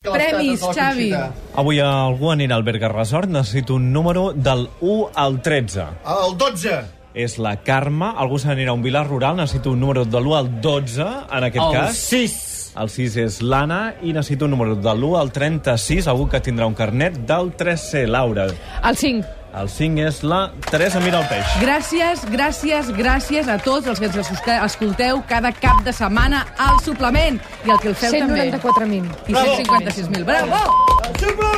que l'estat ens Premis, el Xavi. considera. Avui algú anirà al Berga Resort. Necessito un número del 1 al 13. El 12. És la Carme. Algú se n'anirà a un vilar rural. Necessito un número de l'1 al 12, en aquest El cas. 6. El 6 és l'Anna i necessito un número de l'1 al 36, algú que tindrà un carnet del 3C, Laura. El 5. El 5 és la Teresa Mira el Peix. Gràcies, gràcies, gràcies a tots els que ens escuste- escolteu cada cap de setmana al suplement. I el que el feu també. 194.000. I 156.000. Bravo!